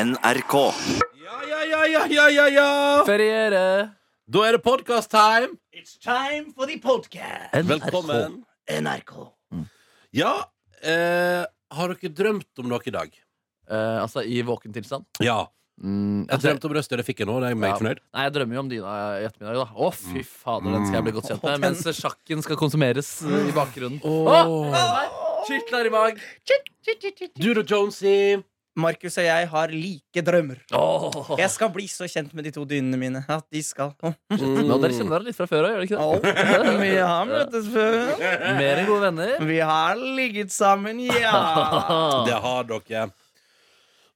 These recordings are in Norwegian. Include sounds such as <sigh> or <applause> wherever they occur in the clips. NRK. Ja, ja, ja, ja, ja, ja, ja. Feriere. Da er det podcast-time. It's time for the podcast. Velkommen. NRK. Ja, eh, har dere drømt om noe i dag? Eh, altså, i våken tilstand. Ja. Mm, Jeg drømte om røst, og det fikk jeg nå. Det er jeg meget fornøyd. Mm. Nei, jeg drømmer jo om Dina i ettermiddag. da Å, fy fader, den skal jeg bli godt kjent med. Mens sjakken skal konsumeres eh, i bakgrunnen. Åh. Å, Kirtler i mag. Dude og Jonesy. Markus og jeg har like drømmer. Åh. Jeg skal bli så kjent med de to dynene mine at de skal Å, Mm. Nå, dere liksom- kjenner dere litt fra før òg, gjør dere ikke det? å, Vi har møttes før. Mer enn gode venner. Vi har ligget sammen, <laughs> ja. Mm. Det har dere.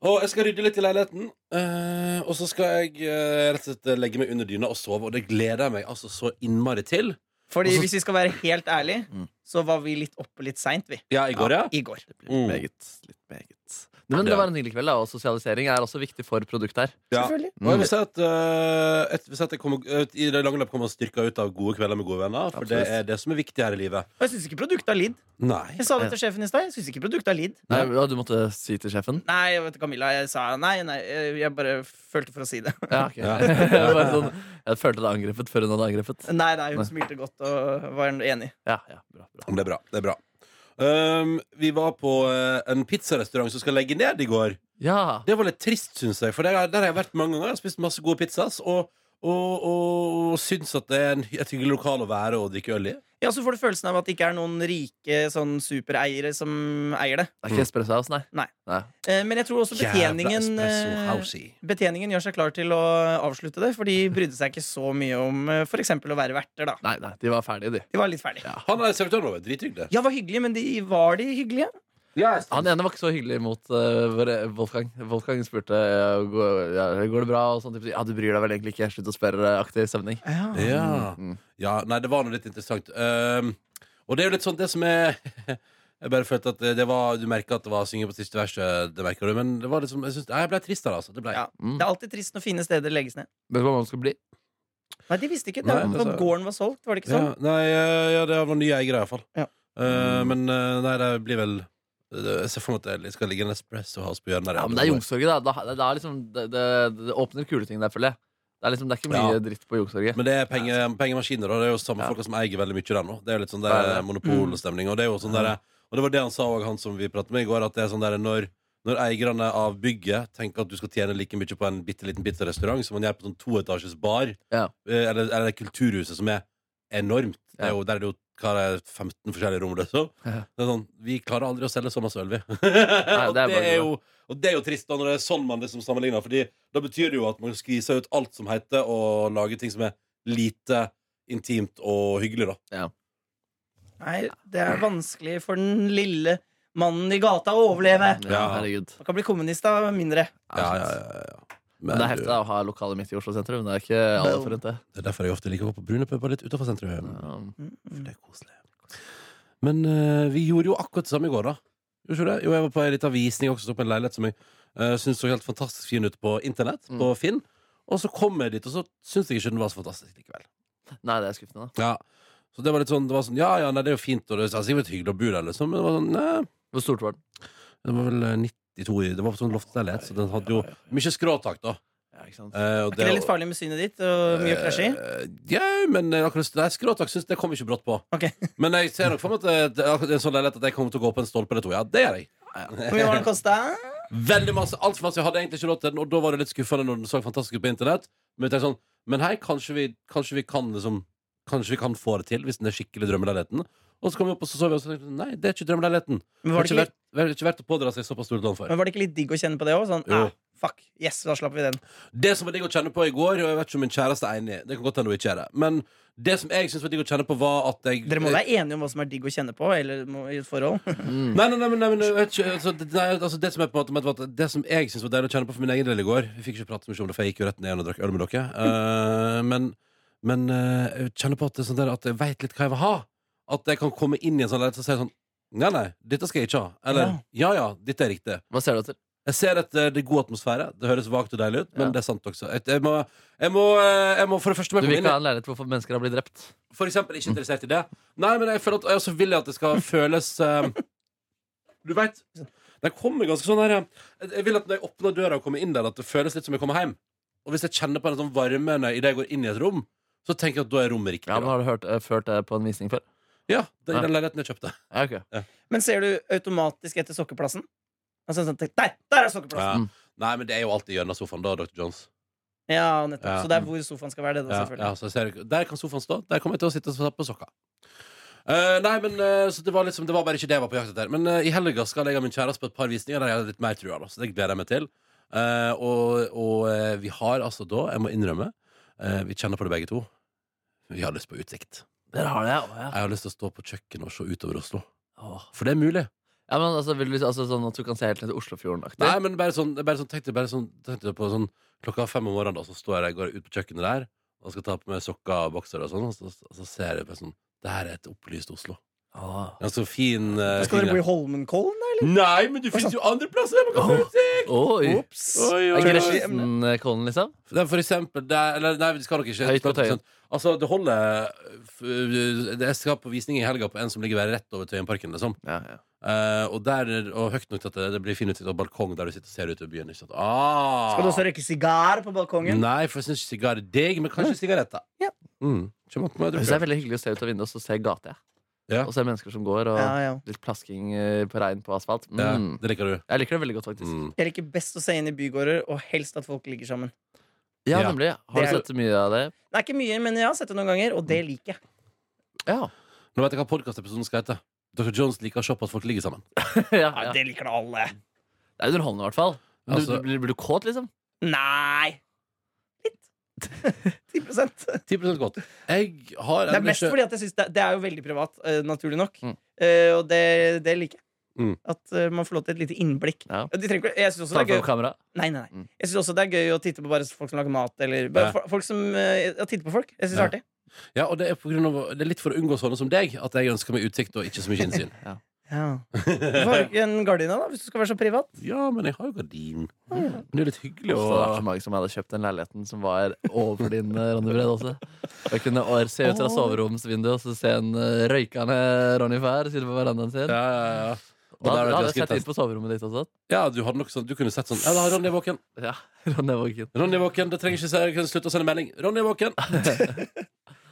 Og jeg skal rydde litt i leiligheten. eh, og så skal jeg eh, rett og slett legge meg under dyna og sove, og det gleder jeg meg altså så innmari til. Fordi hvis vi skal være helt ærlige, så var vi litt oppe litt seint, vi. Ja, i går, ja? I går. Mm. litt meget. Men det Ja. var en nydelig kveld, da, og sosialisering er også viktig for produktet her. Ja. Selvfølgelig. Og jeg Mm. vil si at, eh, jeg vil si at jeg kommer, eh, I det lange løp kommer man styrka ut av gode kvelder med gode venner, for det Absolutt. er det som er viktig her i livet. Og jeg syns ikke produktet har lidd. Nei. Jeg sa det til sjefen i stad. Jeg syns ikke produktet har lidd. Nei, ja, du måtte si til sjefen? Nei, jeg vet du, Camilla, jeg sa nei, nei. Jeg bare følte for å si det. <laughs> Ja, ok <laughs> Ja. Bare sånn, Jeg følte det angrepet før hun hadde angrepet. Nei, nei, hun smilte godt og var enig. Ja, ja, bra, bra Det er bra. det er bra um, Vi var på eh, en pizzarestaurant som skal legge ned i går. Ja, Det var litt trist, syns jeg. For der, har- der har jeg vært mange ganger. Jeg har spist masse gode pizzas. Og, og, og, og syns at det er en, et hyggelig lokal å være og drikke øl i. Ja, så får du følelsen av at det ikke er noen rike sånn supereiere som eier det. Det er ikke espresso house, nei. Nei. nei. Eh, Men jeg tror også betjeningen espresso eh, housey. Betjeningen gjør seg klar til å avslutte det, for de brydde seg ikke så mye om eh, for eksempel å være verter, da. Nei, nei, de var ferdige, de. De var litt ferdige. Ja. Han er servitøren vår. Drithyggelig. Ja, var hyggelige, men de var de hyggelige? Han ene var ikke så hyggelig mot eh, vår- Wolfgang. Wolfgang spurte ja, går, ja, går det bra. Og sånn type ting. Ja, du bryr deg vel egentlig ikke. Slutt å spørre. eh, Aktiv stemning. Ja. Ja. Mm. ja. Nei, det var nå litt interessant. Um, og det er jo litt sånn det som er <laughs> Jeg bare følte at det var Du merka at det var synging på siste verset, det merka du, men det var liksom, jeg, synes, nei, jeg ble trist av det, altså. Det ble. Ja. Det er alltid trist når fine steder legges ned. Vet du Mm. hva man skal bli? Nei, de visste ikke. Det Nei, var det sa at jeg. gården var solgt, var det ikke sånn? Ja, nei, eh, ja, det var nye eiere, iallfall. Ja. Uh, men eh, nei, det blir vel det- Jeg ser for meg at det skal ligge en espresso house på hjørnet der. Ja, men det er Youngstorget, da. da, da er liksom, det, det, det åpner kuleting der, føler jeg. Det er, liksom, det er ikke mye Ja. dritt på Youngstorget. Men det er penge, pengemaskiner, og det er jo samme Ja. folk som eier veldig mye der nå. Det er jo litt sånn Det der er det. monopolstemning. Og det er jo sånn der, og det var det han sa òg, han som vi pratet med i går, at det er sånn der når når eierne av bygget tenker at du skal tjene like mye på en bitte liten pizzarestaurant som man gjør på sånn toetasjes bar, Ja. eh, eller, eller kulturhuset, som er enormt det er jo, Der er det jo hva er det, 15 forskjellige rom. Det, så. Ja. Det er sånn, vi klarer aldri å selge så masse øl, vi. <laughs> og, det er det bare er jo, og det er jo trist da når det er sånn man liksom sammenligner, Fordi da betyr det jo at man skviser ut alt som heter, og lager ting som er lite intimt og hyggelig, da. Nei, det er vanskelig for den lille mannen i gata å overleve. Ja, Ja. herregud. Man kan bli kommunist av mindre. Men, Men det er heftig da, å ha lokale midt i Oslo sentrum. Det er ikke alle forent, det. Det er derfor jeg ofte liker å gå på brune puber litt utafor sentrum. Ja. For det er koselig. Men eh, vi gjorde jo akkurat det samme i går, da. Gjorde ikke du det? Jo, jeg var på en liten visning også, så på en leilighet som jeg uh, syntes så helt fantastisk fin ut på internett, Mm. på Finn. Og så kom jeg dit, og så syntes jeg ikke den var så fantastisk likevel. Nei, det er skuffende, da. Ja. Så det var litt sånn, det var sånn Ja, ja, nei, det er jo fint, og det er sikkert hyggelig å bo der, liksom, men det var sånn Nei, Hvor stort var den? det var vel eh, 92 i Det var på sånn loftleilighet, så den hadde jo mye skråtak, da. Ja, ikke sant? Eh, og Er ikke det litt farlig med synet ditt og mye krasjing? Eh, Ja, men eh, akkurat nei, skråtak syns jeg kom ikke brått på. Ok. <laughs> Men jeg ser nok for meg at det det er en sånn leilighet at jeg kommer til å gå på en stolpe eller to. Ja, det gjør jeg. Hvor mye var den kosta? <laughs> Veldig masse, alt for masse. Jeg hadde egentlig ikke råd til den, og da var det litt skuffende når den så fantastisk ut på internett. Men jeg tenkte sånn, men hei, kanskje vi, kanskje vi kan liksom Kanskje vi kan få det til, hvis den er skikkelig drømmeleiligheten. Og så kom vi opp og så så vi og så tenkte vi, sånn, nei, det er ikke drømmeleiligheten. Det Men er var ikke det ikke litt, verdt, det er ikke verdt å pådra seg såpass stort lån for. men var det ikke litt digg å kjenne på det òg? Sånn, Jo. ah, fuck, yes, da slapp vi den. Det som var digg å kjenne på i går, og jeg vet ikke om min kjæreste er enig, det kan godt hende hun ikke er det, men det som jeg syns var digg å kjenne på, var at jeg Dere må være enige om hva som er digg å kjenne på eller må, i et forhold. <laughs> Mm. Nei, nei, nei, men, nei, men jeg vet ikke, altså, det, nei, altså, det som er på en måte med at- at Det som jeg synes var deilig å kjenne på for min egen del i går Vi fikk ikke prate så mye om det, for jeg gikk jo rett ned igjen og drakk øl med <laughs> dere Eh, Men, men eh, jeg kjenner på at, det er sånn der, at jeg vet litt hva jeg vil ha At jeg kan komme inn i en sånn leilighet og si sånn Nei, nei, dette skal jeg ikke ha Eller, ja, ja, dette er riktig Hva ser du etter? jeg ser at eh, det er god atmosfære. Det høres vagt og deilig ut, men Ja. det er sant også. Jeg, jeg, må, jeg, må, eh, jeg må for det første må Du jeg vil komme inn ikke i- ha en leilighet hvor mennesker har blitt drept? for eksempel ikke interessert i det. Nei, men jeg føler at, og så vil jeg at det skal føles eh, Du veit Den kommer ganske sånn her eh, Jeg vil at når jeg åpner døra og kommer inn der, at det føles litt som jeg kommer hjem. Og hvis jeg kjenner på en sånn varme når- idet jeg går inn i et rom, så tenker jeg at da er rommet riktig. Ja, men da. Har du hørt, eh, ført det på en visning før? Ja, det er Ja. den leiligheten jeg kjøpte. Ja, ok. Men ser du automatisk etter sokkeplassen? Altså, sånn, der, der er sokkeplassen! Ja. Mm. Nei, men det er jo alltid gjennom sofaen, da, Dr. Jones. Ja, nettopp. Ja. Så det er hvor sofaen skal være. det da, Ja, selvfølgelig ja, så jeg ser, der kan sofaen stå. Der kommer jeg til å sitte og ta på sokka. Eh, nei, men eh, så det var, liksom, det var bare ikke det jeg var på jakt etter. Men eh, i helga skal jeg og min kjæreste på et par visninger der jeg har litt mer trua. da, Så det gleder jeg meg til. Eh, og og eh, vi har altså da, jeg må innrømme, eh, vi kjenner på det begge to. Vi har lyst på utsikt. Der har du det, å, Jeg ja. har lyst til å stå på kjøkkenet og se utover Oslo. Åh. For det er mulig. ja, men altså, vil du, altså sånn at du kan se helt ned til Oslofjorden-aktig? Nei, men bare sånn, bare sånn tenkte jeg bare sånn, tenkte jeg på sånn klokka fem om morgenen, da, så står jeg der, går jeg ut på kjøkkenet der og skal ta på meg sokker og bokser og sånn, og så, og så ser jeg bare sånn Det her er et opplyst Oslo. Åh. Det er så fin Da eh, Skal dere fin- bo i Holmenkollen, da? Nei, men det fins jo andre plasser man kan få Åh. utsikt! Oi! Ops! Oi, oi, Er oi. Gressenkollen, liksom? Det er for eksempel det er, Eller nei, vi skal nok ikke Høyt på Tøyen. Altså, det holder f- Jeg skal på visning i helga på en som ligger bare rett over Tøyenparken, liksom. Ja, ja. Eh, og der, og høyt nok til at det, det blir fin utsikt og balkong der du sitter og ser utover byen. Ikke sant? Ah. Skal du også røyke sigar på balkongen? Nei, for jeg syns ikke sigar er digg, men kanskje sigaretter. Ja. Mm. Kjem opp med Jeg det, synes det er veldig hyggelig å se ut av vinduet og så se gata. jeg. Ja. Og se mennesker som går, og Ja, ja. litt plasking eh, på regn på asfalt. Mm. ja, det liker du. Jeg liker det veldig godt, faktisk. Mm. Jeg liker best å se inn i bygårder, og helst at folk ligger sammen. Ja, Ja. nemlig. Har Det du er- sett mye av det? Det er ikke mye, men jeg har sett det noen ganger, og Mm. det liker jeg. Ja. Nå vet jeg hva podkastepisoden skal hete. Dr. Jones liker å se på at folk ligger sammen. <laughs> ja, Ja, ja. Det det liker da alle. er underholdende, i hvert fall. Men Du, Altså- du, blir, blir du kåt, liksom? Nei! Litt. <laughs> 10 10 godt. Jeg har Det er ennå mest ikke- fordi at jeg synes det, det er jo veldig privat, eh, naturlig nok. Mm. Eh, og det, det liker jeg. Mm. At eh, man får lov til et lite innblikk. Ja. De trenger ikke- jeg syns også, Ta det er fram gøy- kamera. nei, nei, nei. Mm. Jeg synes også det er gøy å titte på bare folk som lager mat, eller Ja. bare fo- folk som eh, ja, titte på folk. Jeg syns det Ja. er artig. Ja, og det er, på grunn av, det er litt for å unngå sånne som deg at jeg ønsker meg utsikt og ikke så mye <laughs> innsyn. Hvorfor har du ikke en gardina, da, hvis du skal være så privat? Ja, men jeg har jo gardin. Men det er jo litt hyggelig Ofte har det vært så å mange som hadde kjøpt den leiligheten som var overfor din, eh, Ronny Brede også. Jeg kunne å- se ut fra Åh. soveromsvinduet og så se en eh, røykende Ronny Fær sitte på verandaen sin. ja, ja, ja. Og der Da, da vet jeg hadde jeg jeg sett skulle inn på soverommet ditt også. Ja, du hadde nok sånn Du kunne sett sånn Ja, da har Ronny er våken. Ja, <laughs> Ronny var ikke Ronny er våken. Det trenger ikke se- jeg kan slutte å sende melding. Ronny er <laughs> våken.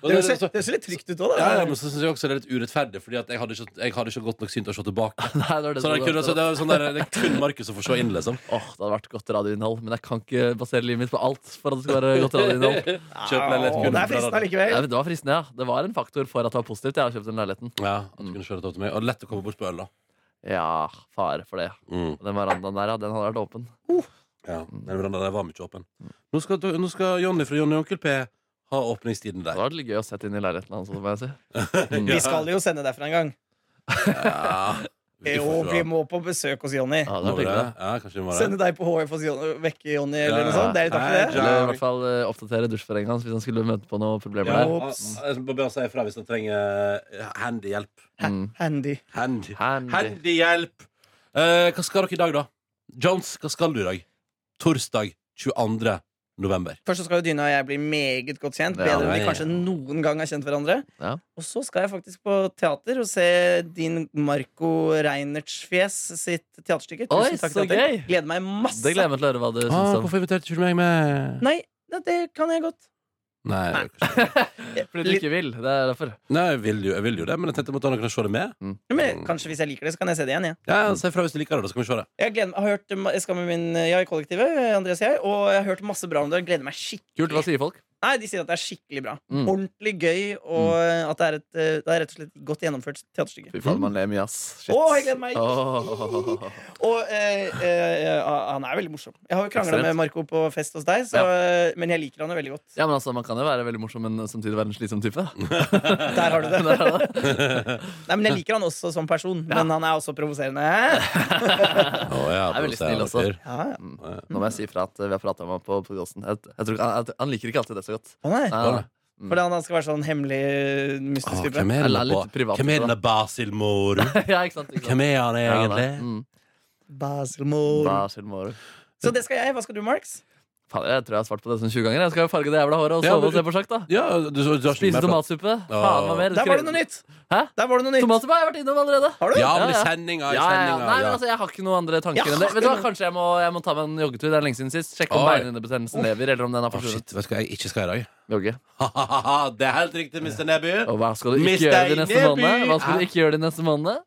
Og Det det- så- høres det høres jo litt trygt ut òg, da. ja, ja, men så synes jeg også det er litt urettferdig, Fordi at jeg hadde ikke, jeg hadde ikke godt nok syn til å se tilbake. Nei, det var det Så det, som- kunne, så det, er sånn der, det er kun Markus som får se inn, <laughs> liksom. Åh, det hadde vært godt radioinnhold, men jeg kan ikke basere livet mitt på alt. for at det skal være godt radioinnhold <laughs> Kjøp leilighet Åh, kun det er for fristende radio. allikevel. ja, men Det var fristende, ja. Det var en faktor for at det var positivt. Jeg har kjøpt den leiligheten. liksom. Ja, at du kunne kjøre det til meg. Og lett å komme bort på øl, da. Ja, fare for det. Mm. Den verandaen der, ja, den hadde vært åpen. Ja, den verandaen der var mye åpen. Nå skal, nå skal Jonny fra Jonny og Onkel P ha åpningstiden Det der. hadde vært litt gøy å sette inn i leiligheten hans. altså, må jeg si. <laughs> Mm. Ja. Vi skal jo sende derfra en gang. Ja. Vi Jo, får se. vi må på besøk hos Jonny. Ja, det Må hadde vært vi det? hyggelig. Ja, kanskje vi må det. Sende deg på HF hos Jonny, vekke Jonny, Ja, eller noe ja. sånt. Det er litt artig, Nei, det. Eller i hvert fall eh, oppdatere dusjforengen hans hvis han skulle møte på noen problemer Ja, der. og- jeg må bare si ifra hvis han trenger eh, handy hjelp. Mm. Handy. Handy, Handy. handy hjelp! Eh, hva skal dere i dag, da? Jones, hva skal du i dag? Torsdag 22. november. Først så skal jo Dyna og jeg bli meget godt kjent. Ja, Bedre enn ja, vi ja. kanskje noen gang har kjent hverandre. Ja. Og så skal jeg faktisk på teater og se din Marco Reinertsfjes sitt teaterstykke. Oi, Tusen takk, så teater. gøy! Gleder meg masse. Det gleder jeg meg til å høre hva du Ah, syns om. hvorfor inviterte ikke du meg med? Nei, det, det kan jeg godt. Nei, det er kanskje- Fordi du ikke vil. Det er derfor. Nei jeg, vil jo, jeg vil jo det, men jeg tenkte jeg måtte ha noen å se det med. Mm. Ja, Mm. Men kanskje hvis jeg liker det, så kan jeg se det igjen. Jeg, Ja, Si ifra hvis du liker det, da skal vi se det. jeg, gleder, meg- har hørt, eh, jeg skal med min Jeg i kollektivet, eh, Andreas og jeg, og jeg har hørt masse bra om det. og Jeg gleder meg skikkelig. Kult, hva sier folk? Nei, De sier at det er skikkelig bra. Mm. Ordentlig gøy, og eh, at det er, et, eh, det er rett og slett et godt gjennomført teaterstykke. Fy faen, man ler mye, ass. Shit. Åh, jeg gleder meg. Åh. Og eh, eh, han er veldig morsom. Jeg har jo krangla Ekstremt. med Marco på fest hos deg, så, eh, men jeg liker han jo veldig godt. Ja, men altså, Man kan jo være veldig morsom, men samtidig være en slitsom type. <laughs> Der har du det. Der er det. Nei, men jeg liker han også som person, men han er også provoserende. Å, ja, Jeg er veldig provoserende snill også. fyr. Ja, ja. Ja. Nå må jeg si ifra at eh, vi har prata om ham på podkasten. Jeg, jeg tror ikke- han, han liker ikke alltid det så godt. Å Nei, nei. nei. Fordi han, han skal være sånn hemmelig, mystisk Åh, type. hvem er Eller den da? litt privat, Hvem er da. den der Basil Moro? <laughs> ja, ikke sant? Ikke sant? Hvem er han Ja, da. egentlig? Mm. Basil Moore. Basil Moro. Så det skal jeg. Hva skal du, Marks? Faen, jeg tror jeg har svart på det sånn 20 ganger. Jeg skal jo farge det jævla håret og Ja, sove men og se på sjakk, da. Ja, du, du, har ikke Spise mer prat. tomatsuppe. Faen, hva mer? Der var det noe nytt! Hæ? Der var det noe nytt. Tomatsuppe har jeg vært innom allerede. Har du? Ja, men i Ja, ja. sendinga. I Ja, ja, ja. sendinga. Nei, men ja. altså, jeg har ikke noen andre tanker Jeg enn det. har Vet du hva, ikke Kanskje jeg må, jeg må ta meg en joggetur. Det er lenge siden sist. Sjekke om Oi. beinhinnebetennelsen lever, eller om den har Å, forsvunnet. shit, vet du hva jeg ikke skal i dag? <laughs> Jogge. Ha-ha-ha, det er helt riktig, Mr. Neby. Og hva skal du Miss ikke gjøre de neste Neby! månedene? Hva skal du ikke gjøre de neste månedene?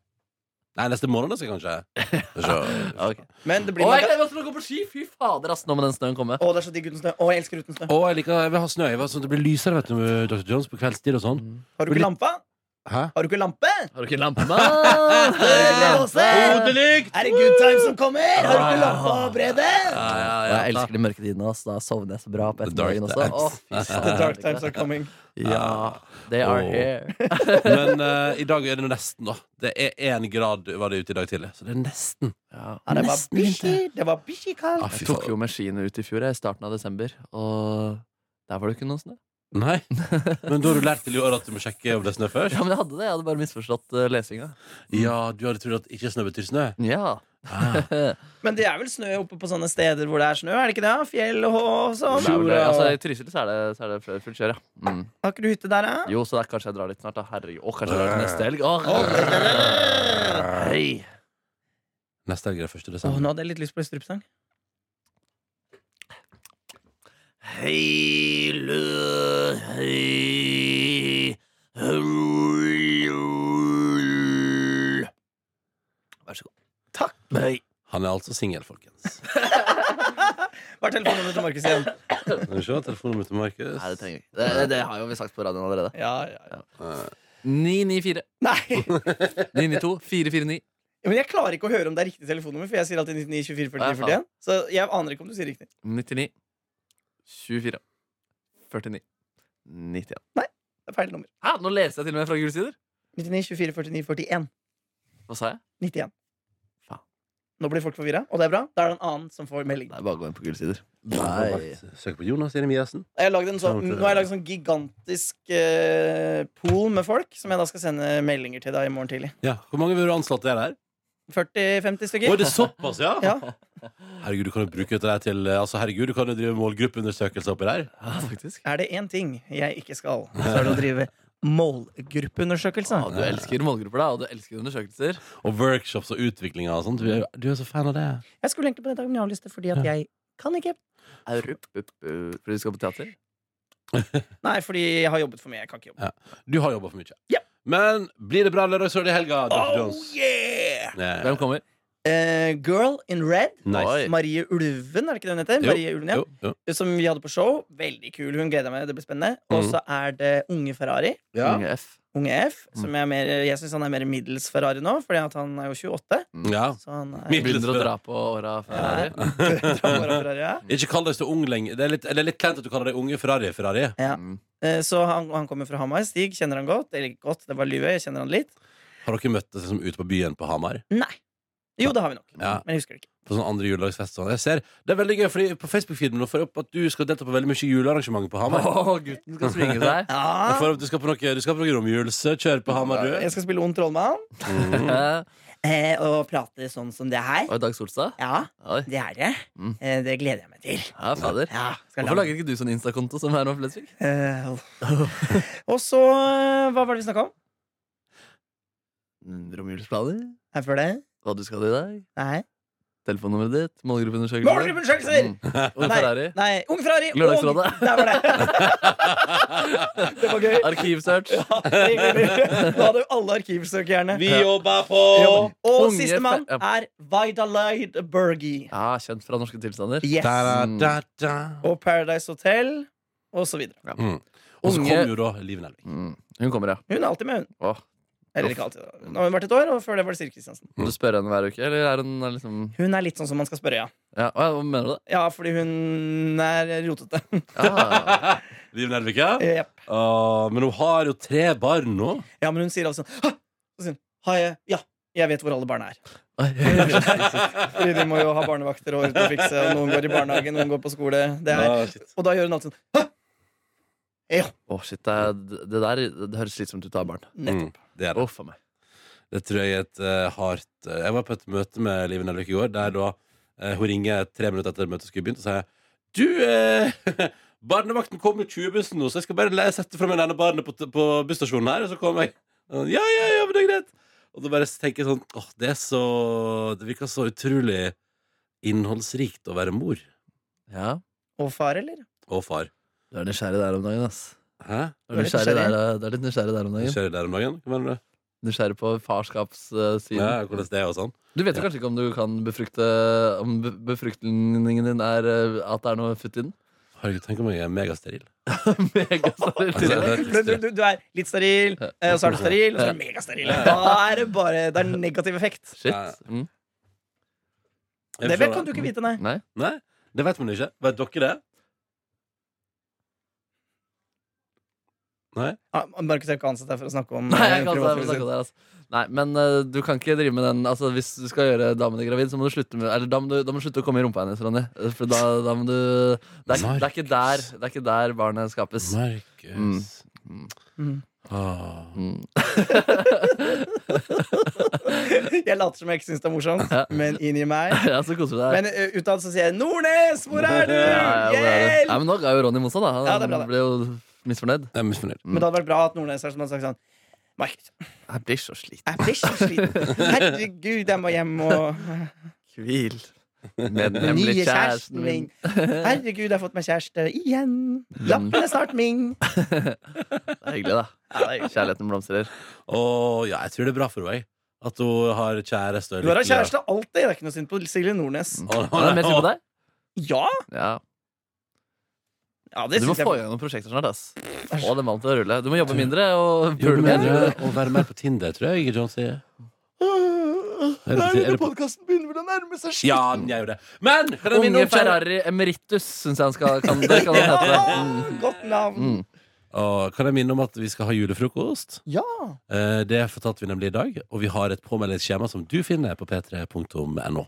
Nei, neste måned, altså, kanskje. <laughs> Ja, Så- ok. Men det Å, blir noe jeg gleder meg til å gå på ski! Fy fader, ass, nå må den snøen komme. Å, det er så digg uten snø. Å, jeg elsker uten snø. Og jeg liker jeg vil ha snø, jeg vil ha sånn at det blir lysere vet du, med Dr. Jones på kveldstid og sånn. Har du ikke lampa? Hæ? Har du ikke lampe? Har du ikke lampe, mann? Hodelykt! Er det good times som kommer? Har du ikke lampa, Brede? Jeg elsker de mørke tidene. ass. Da sovner jeg så bra på The dark ettermiddagen også. Å, times. fy The dark fader. times are coming. Ja, they are Åh. here. Men eh, i dag er det nesten, da. Det er én grad var det ute i dag tidlig. Så det er nesten. Ja. Ja, det var Nesten bikkji. Det var bikkji kaldt. Ah, Jeg fy tok jo faen. med skiene ut i fjor, jeg, i starten av desember. Og der var det ikke noe snø. Nei. <laughs> Men da har du lært til i år at du må sjekke om det er snø <laughs> Ja, først? men jeg hadde det, jeg hadde bare misforstått uh, lesinga. Ja, du hadde trodd at ikke snø betyr snø? Ja. Ah. Men det er vel snø oppe på sånne steder hvor det er snø? Er det ikke det? Fjell og sånn? Det er vel det. Altså, Har I Trysil så er det, så er det fullt fullt kjør, ja. Mm. ikke du hytte der, da? Jo, så der kanskje jeg drar litt snart. da Herregud. Å, kanskje jeg drar til neste helg. Å, hei. Neste helg er det 1. Åh, desember. nå hadde jeg litt lyst på en strupsang. Hei, lø, hei, hallo. Vær så god. Takk. Hei. Han er altså singel, folkens. Hva er telefonnummeret til Markus igjen? Skal vi se, telefonnummeret til Markus. Nei, det trenger vi ikke. Det, det, det har jo vi sagt på radioen allerede. <laughs> Ja, ja, ja. 994. Nei, 992 449. <laughs> men jeg klarer ikke å høre om det er riktig telefonnummer, for jeg sier alltid 99 24 49 Nei, faen. 41. Så jeg aner ikke om du sier riktig. 99 24 49 91. Det er feil nummer. Hæ, nå leser jeg til og med fra gule sider! 99 24 49 41. Hva sa jeg? 91. Faen. Nå blir folk forvirra, og det er bra. Da er det en annen som får melding. Nei, bare gå inn på gule sider. Søk på Jonas Jeremiassen. Jeg har lagd en sånn, nå har jeg lagd en sånn gigantisk eh, pool med folk, som jeg da skal sende meldinger til da i morgen tidlig. Ja. Hvor mange vil du anslått det er der? 40-50 Å, stykker. det er såpass, ja? Ja. Herregud, du kan jo bruke dette der til eh, Altså, herregud, du kan jo drive målgruppeundersøkelse oppi der. Ja, faktisk. Er det én ting jeg ikke skal, så er det å drive målgruppeundersøkelse. Ja, du elsker målgrupper, da, og du elsker undersøkelser. Og workshops og utviklinger og sånt. Du er, jo- du er så fan av det. Jeg skulle egentlig på det dagen jeg har lyst til, fordi at jeg kan ikke. Aurup, up, uh, Fordi du skal på teater? Nei, fordi jeg har jobbet for mye. Jeg kan ikke jobbe. Du har jobba for mye. Ja. Men blir det bra lørdagsrevy i helga? Dr. Jones? Oh, yeah! Eh, Hvem kommer? Eh, Girl in Red. Nice. Oi. Marie Ulven, er det ikke det hun heter? Jo, Marie Ulven, ja. Jo, jo. Som vi hadde på show. Veldig kul. Hun gleder jeg meg. Det blir spennende. Og så er det Unge Ferrari. Ja. Unge F. Unge F. Som jeg er mer, jeg syns han er mer middels Ferrari nå, fordi at han er jo 28. ja. Så han er Middels. Begynner å dra på åra Ja. <laughs> Ferrari. Drar bare Ferrari, ja. Ikke kall deg så ung lenger. Det er litt, det er litt kleint at du kaller deg unge Ferrari. Ferrari. Ja. Mm. Eh, Så han, han kommer fra Hamar. Stig kjenner han godt. Eller ikke godt, det var lyve. Jeg kjenner han litt. Har dere møttes liksom, ute på byen på Hamar? Nei. Jo, det har vi nok. Ja. Men jeg husker det ikke. På sånn andre juledagsfest? Sånn. Jeg ser, det er veldig gøy, fordi på Facebook-feeden nå får jeg opp at du skal delta på veldig mye julearrangementer på Å, Hamar. gutten skal svinge seg! Jeg Ja. får opp, du skal på noe, du skal på noe romjulskjør på Hamar, du. Jeg skal spille ond trollmann Mm. Eh, eh, og prate sånn som det her. Og Dag Solstad? Ja, Oi. det er det. Mm. Eh, det gleder jeg meg til. Ja, fader. Ja, skal Hvorfor lage- lager ikke du sånn Insta-konto som Herman Flesvig? Eh, Og så eh, Hva var det vi snakka om? Mm, Romjulsplaner? Her før det? Hva du skal i dag? Nei. Telefonnummeret ditt? Mm. Målgruppeundersøkelse? Målgruppeundersøkelser! <laughs> Unge Nei. Ferrari? Nei, Ung Ferrari! og- Lørdagsrådet. Der var det. det var gøy. Arkivsearch? Nå hadde jo alle arkivsøkerne. Vi jobber på Og Unge sistemann fe- er Vidalide Bergie. Ja, kjent fra norske tilstander. Yes. da, da, da. Og Paradise Hotel, og så videre. Mm. Og så Unge- kom jo da Liv Nelvik. Mm. Hun kommer, ja. Hun er alltid med, hun. Åh. Eller ikke alltid. da. Nå har hun vært et år, og før det var det Siri Kristiansen. Må du spørre henne hver uke, eller er hun liksom Hun er litt sånn som man skal spørre, ja. ja, Hva hva mener du? da? Ja, fordi hun er rotete. <laughs> Ah. Liv Nelvik, ja. <laughs> Jep. Åh, men hun har jo tre barn nå. <laughs> ja, men hun sier altså sånn «Hå!» Så sier hun «Har jeg- Ja, jeg vet hvor alle barna er. <laughs> Fordi de må jo ha barnevakter og ordne og fikse, og noen går i barnehagen, noen går på skole. Det er. Åh, Ah, shit. Og da gjør hun alltid sånn «Hå!» Ja, Åh, shit, det, er- det der det høres slitsomt ut å ha barn. nettopp. Mm, det, er det. Åh, faen meg. det tror jeg er et eh, hardt eh, Jeg var på et møte med Liv Nelvik i går, der da eh, hun ringer tre minutter etter møtet skulle begynt, og sier Du, eh, <laughs> barnevakten kom med 20-bussen nå, så jeg skal bare le- sette fra meg denne barnet på, på busstasjonen her, og så kommer jeg. Og han, Ja, ja, ja, men det er greit. Og da bare tenker jeg sånn, åh, det er så, det virker så utrolig innholdsrikt å være mor Ja, Og far, eller? og far. Du er nysgjerrig der om dagen, ass. Hæ? Du er, nysgjerrig der, eh, du er litt nysgjerrig der om dagen. Kjører der om dagen? Hva mener du? Nysgjerrig på farskapssiden. Ja, hvordan det er og sånn. Du vet jo kanskje ikke om du kan befrukte Om be- befruktningen din er eh, at det er noe futt i den? <laughs> Herregud, tenk om jeg er megasteril. Megasteril. Men Du, du, du er litt steril, Altså, eh, og så er du steril, og så er du megasteril. Da er det bare Det er negativ effekt. Shit. Mm. Jeg Det forstår vet- kan du ikke vite, nei. Nei? Nei, det vet man ikke. Vet dere det? Nei? Ah, Markus er ikke ansatt her for å snakke om Nei, eh, jeg kan ikke privatlivet sitt. snakke om det her, altså. Nei, men eh, du kan ikke drive med den altså, Hvis du skal gjøre damene gravid, så må du slutte med Eller da må du, da må du slutte å komme i rumpa hennes, Ronny. Eh, For da, da må du det er, ikke- det, er ikke der, det er ikke der barnet skapes. Markus. Mm. Mm. Ah. Mm. Jeg later som jeg ikke syns det er morsomt, Ja. men inni meg <laughs> <laughs> Ja, så koser du deg. Men eh, utad så sier jeg 'Nordnes, hvor er du?' <laughs> Ja, ja, hvor er det? Nei, Hjelp! men nå er jo Ronny motstand, da. Han eh, Ja, det er bra, det. ble jo misfornøyd. Jeg er misfornøyd. Men det hadde vært bra at Nordnes her som hadde sagt sånn Markus, Jeg blir så sliten. jeg blir så <laughs> sliten. Herregud, jeg må hjem og Hvil. Med den Nye hemmelige kjæresten kjæresten min. <laughs> min. Herregud, jeg har fått meg kjæreste igjen. Lappen er snart min. Det er hyggelig, da. Kjærligheten blomstrer. Og ja, jeg tror det er bra for henne jeg. At hun har kjæreste og Du har hatt lykkelig. Mm. kjæreste alltid. Det er ikke noe synd på Silje Nordnes. Å, Ja, det er mer synd på deg. Ja! Ja. ja det Du må synes få i jeg. gang noen prosjekter snart. ass Få den ballen til å rulle. Du må jobbe mindre og Gjør pule det mindre. bedre å være mer på Tinder, tror jeg John sier Er det på- er det på- podkasten begynner vel å nærme seg Ja, den gjør jo det Men, kan jeg minne Unge om kjære Ferrari Emeritus, syns jeg han skal kan, det kan han hete. Mm. Godt navn. Mm. Å, Kan jeg minne om at vi skal ha julefrokost Ja. Eh, Det fortalte vi nemlig i dag Og vi har et påmeldingsskjema som du finner på p3.no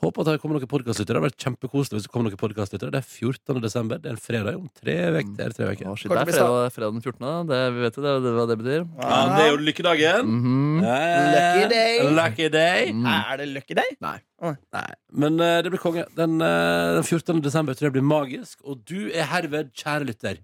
Håper at det kommer noen podcastlyttere Det har vært kjempekoselig hvis det kommer noen podcastlyttere Det er 14. desember, det er en fredag om tre vek Det er tre veker Å, shit, det Kanskje er vi fredag, fredag den 14. da. Det, vi vet jo det, det, hva det betyr. Ja, det er jo lykkedagen Mhm. Ja, ja, ja. Mm. Lucky day. Eh, Lucky day Mm. Er det Lucky Day? Nei, men eh, det blir konge. Den, eh, den 14. desember tror jeg blir magisk, og du er herved, kjære lytter,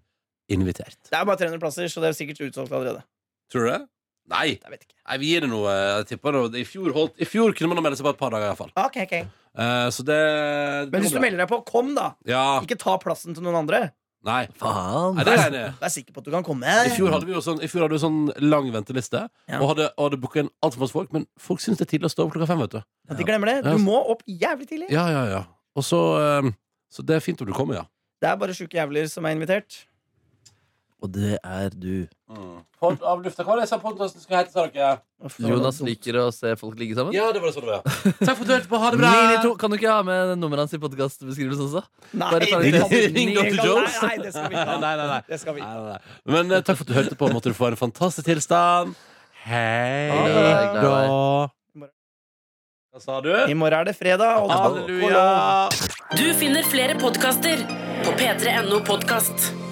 invitert. Det er bare 300 plasser, så det er sikkert utsolgt allerede. Tror du det? Nei, Jeg vet ikke. nei vi gir det noe. eh, Jeg tipper det. I fjor, holdt, I fjor kunne man ha meldt seg på et par dager, iallfall. Ok, ok Uh, så det det Men hvis går du bra. melder deg på, kom, da! Ja. Ikke ta plassen til noen andre. Nei. Faen. nei det er jeg enig i. Vær sikker på at du kan komme. I fjor hadde vi jo sånn, i fjor hadde vi sånn lang venteliste, Ja. og hadde, og hadde booka inn altfor masse folk. Men folk syns det er tidlig å stå opp klokka fem, vet du. At de glemmer det. Ja. Du må opp jævlig tidlig. Ja, ja, ja. Og så eh, Så det er fint om du kommer, ja. Det er bare sjuke jævler som er invitert. Og det er du. Mm. Pod av lufta. Hva var det jeg sa podkasten skulle hete, sa dere? Uff, det var Jonas dumt. liker å se folk ligge sammen. Ja, det var det sånn det var. ja. <laughs> Takk for at du hørte på. Ha det bra! <laughs> Nini2, kan du ikke ha med nummeret hans i podkastbeskrivelsen også? Nei, Bare det ta kan det til- vi Ring ikke. Dr. Jones. Nei, nei, det skal vi ikke ha. Nei, nei, nei. Det skal vi Nei, ikke. nei, nei. Men eh, takk for at du hørte på. Måtte du få en fantastisk tilstand. Hei Ha det. da. Hva sa du? I morgen er det fredag. Og Halleluja. Du finner flere podkaster på p3.no podkast.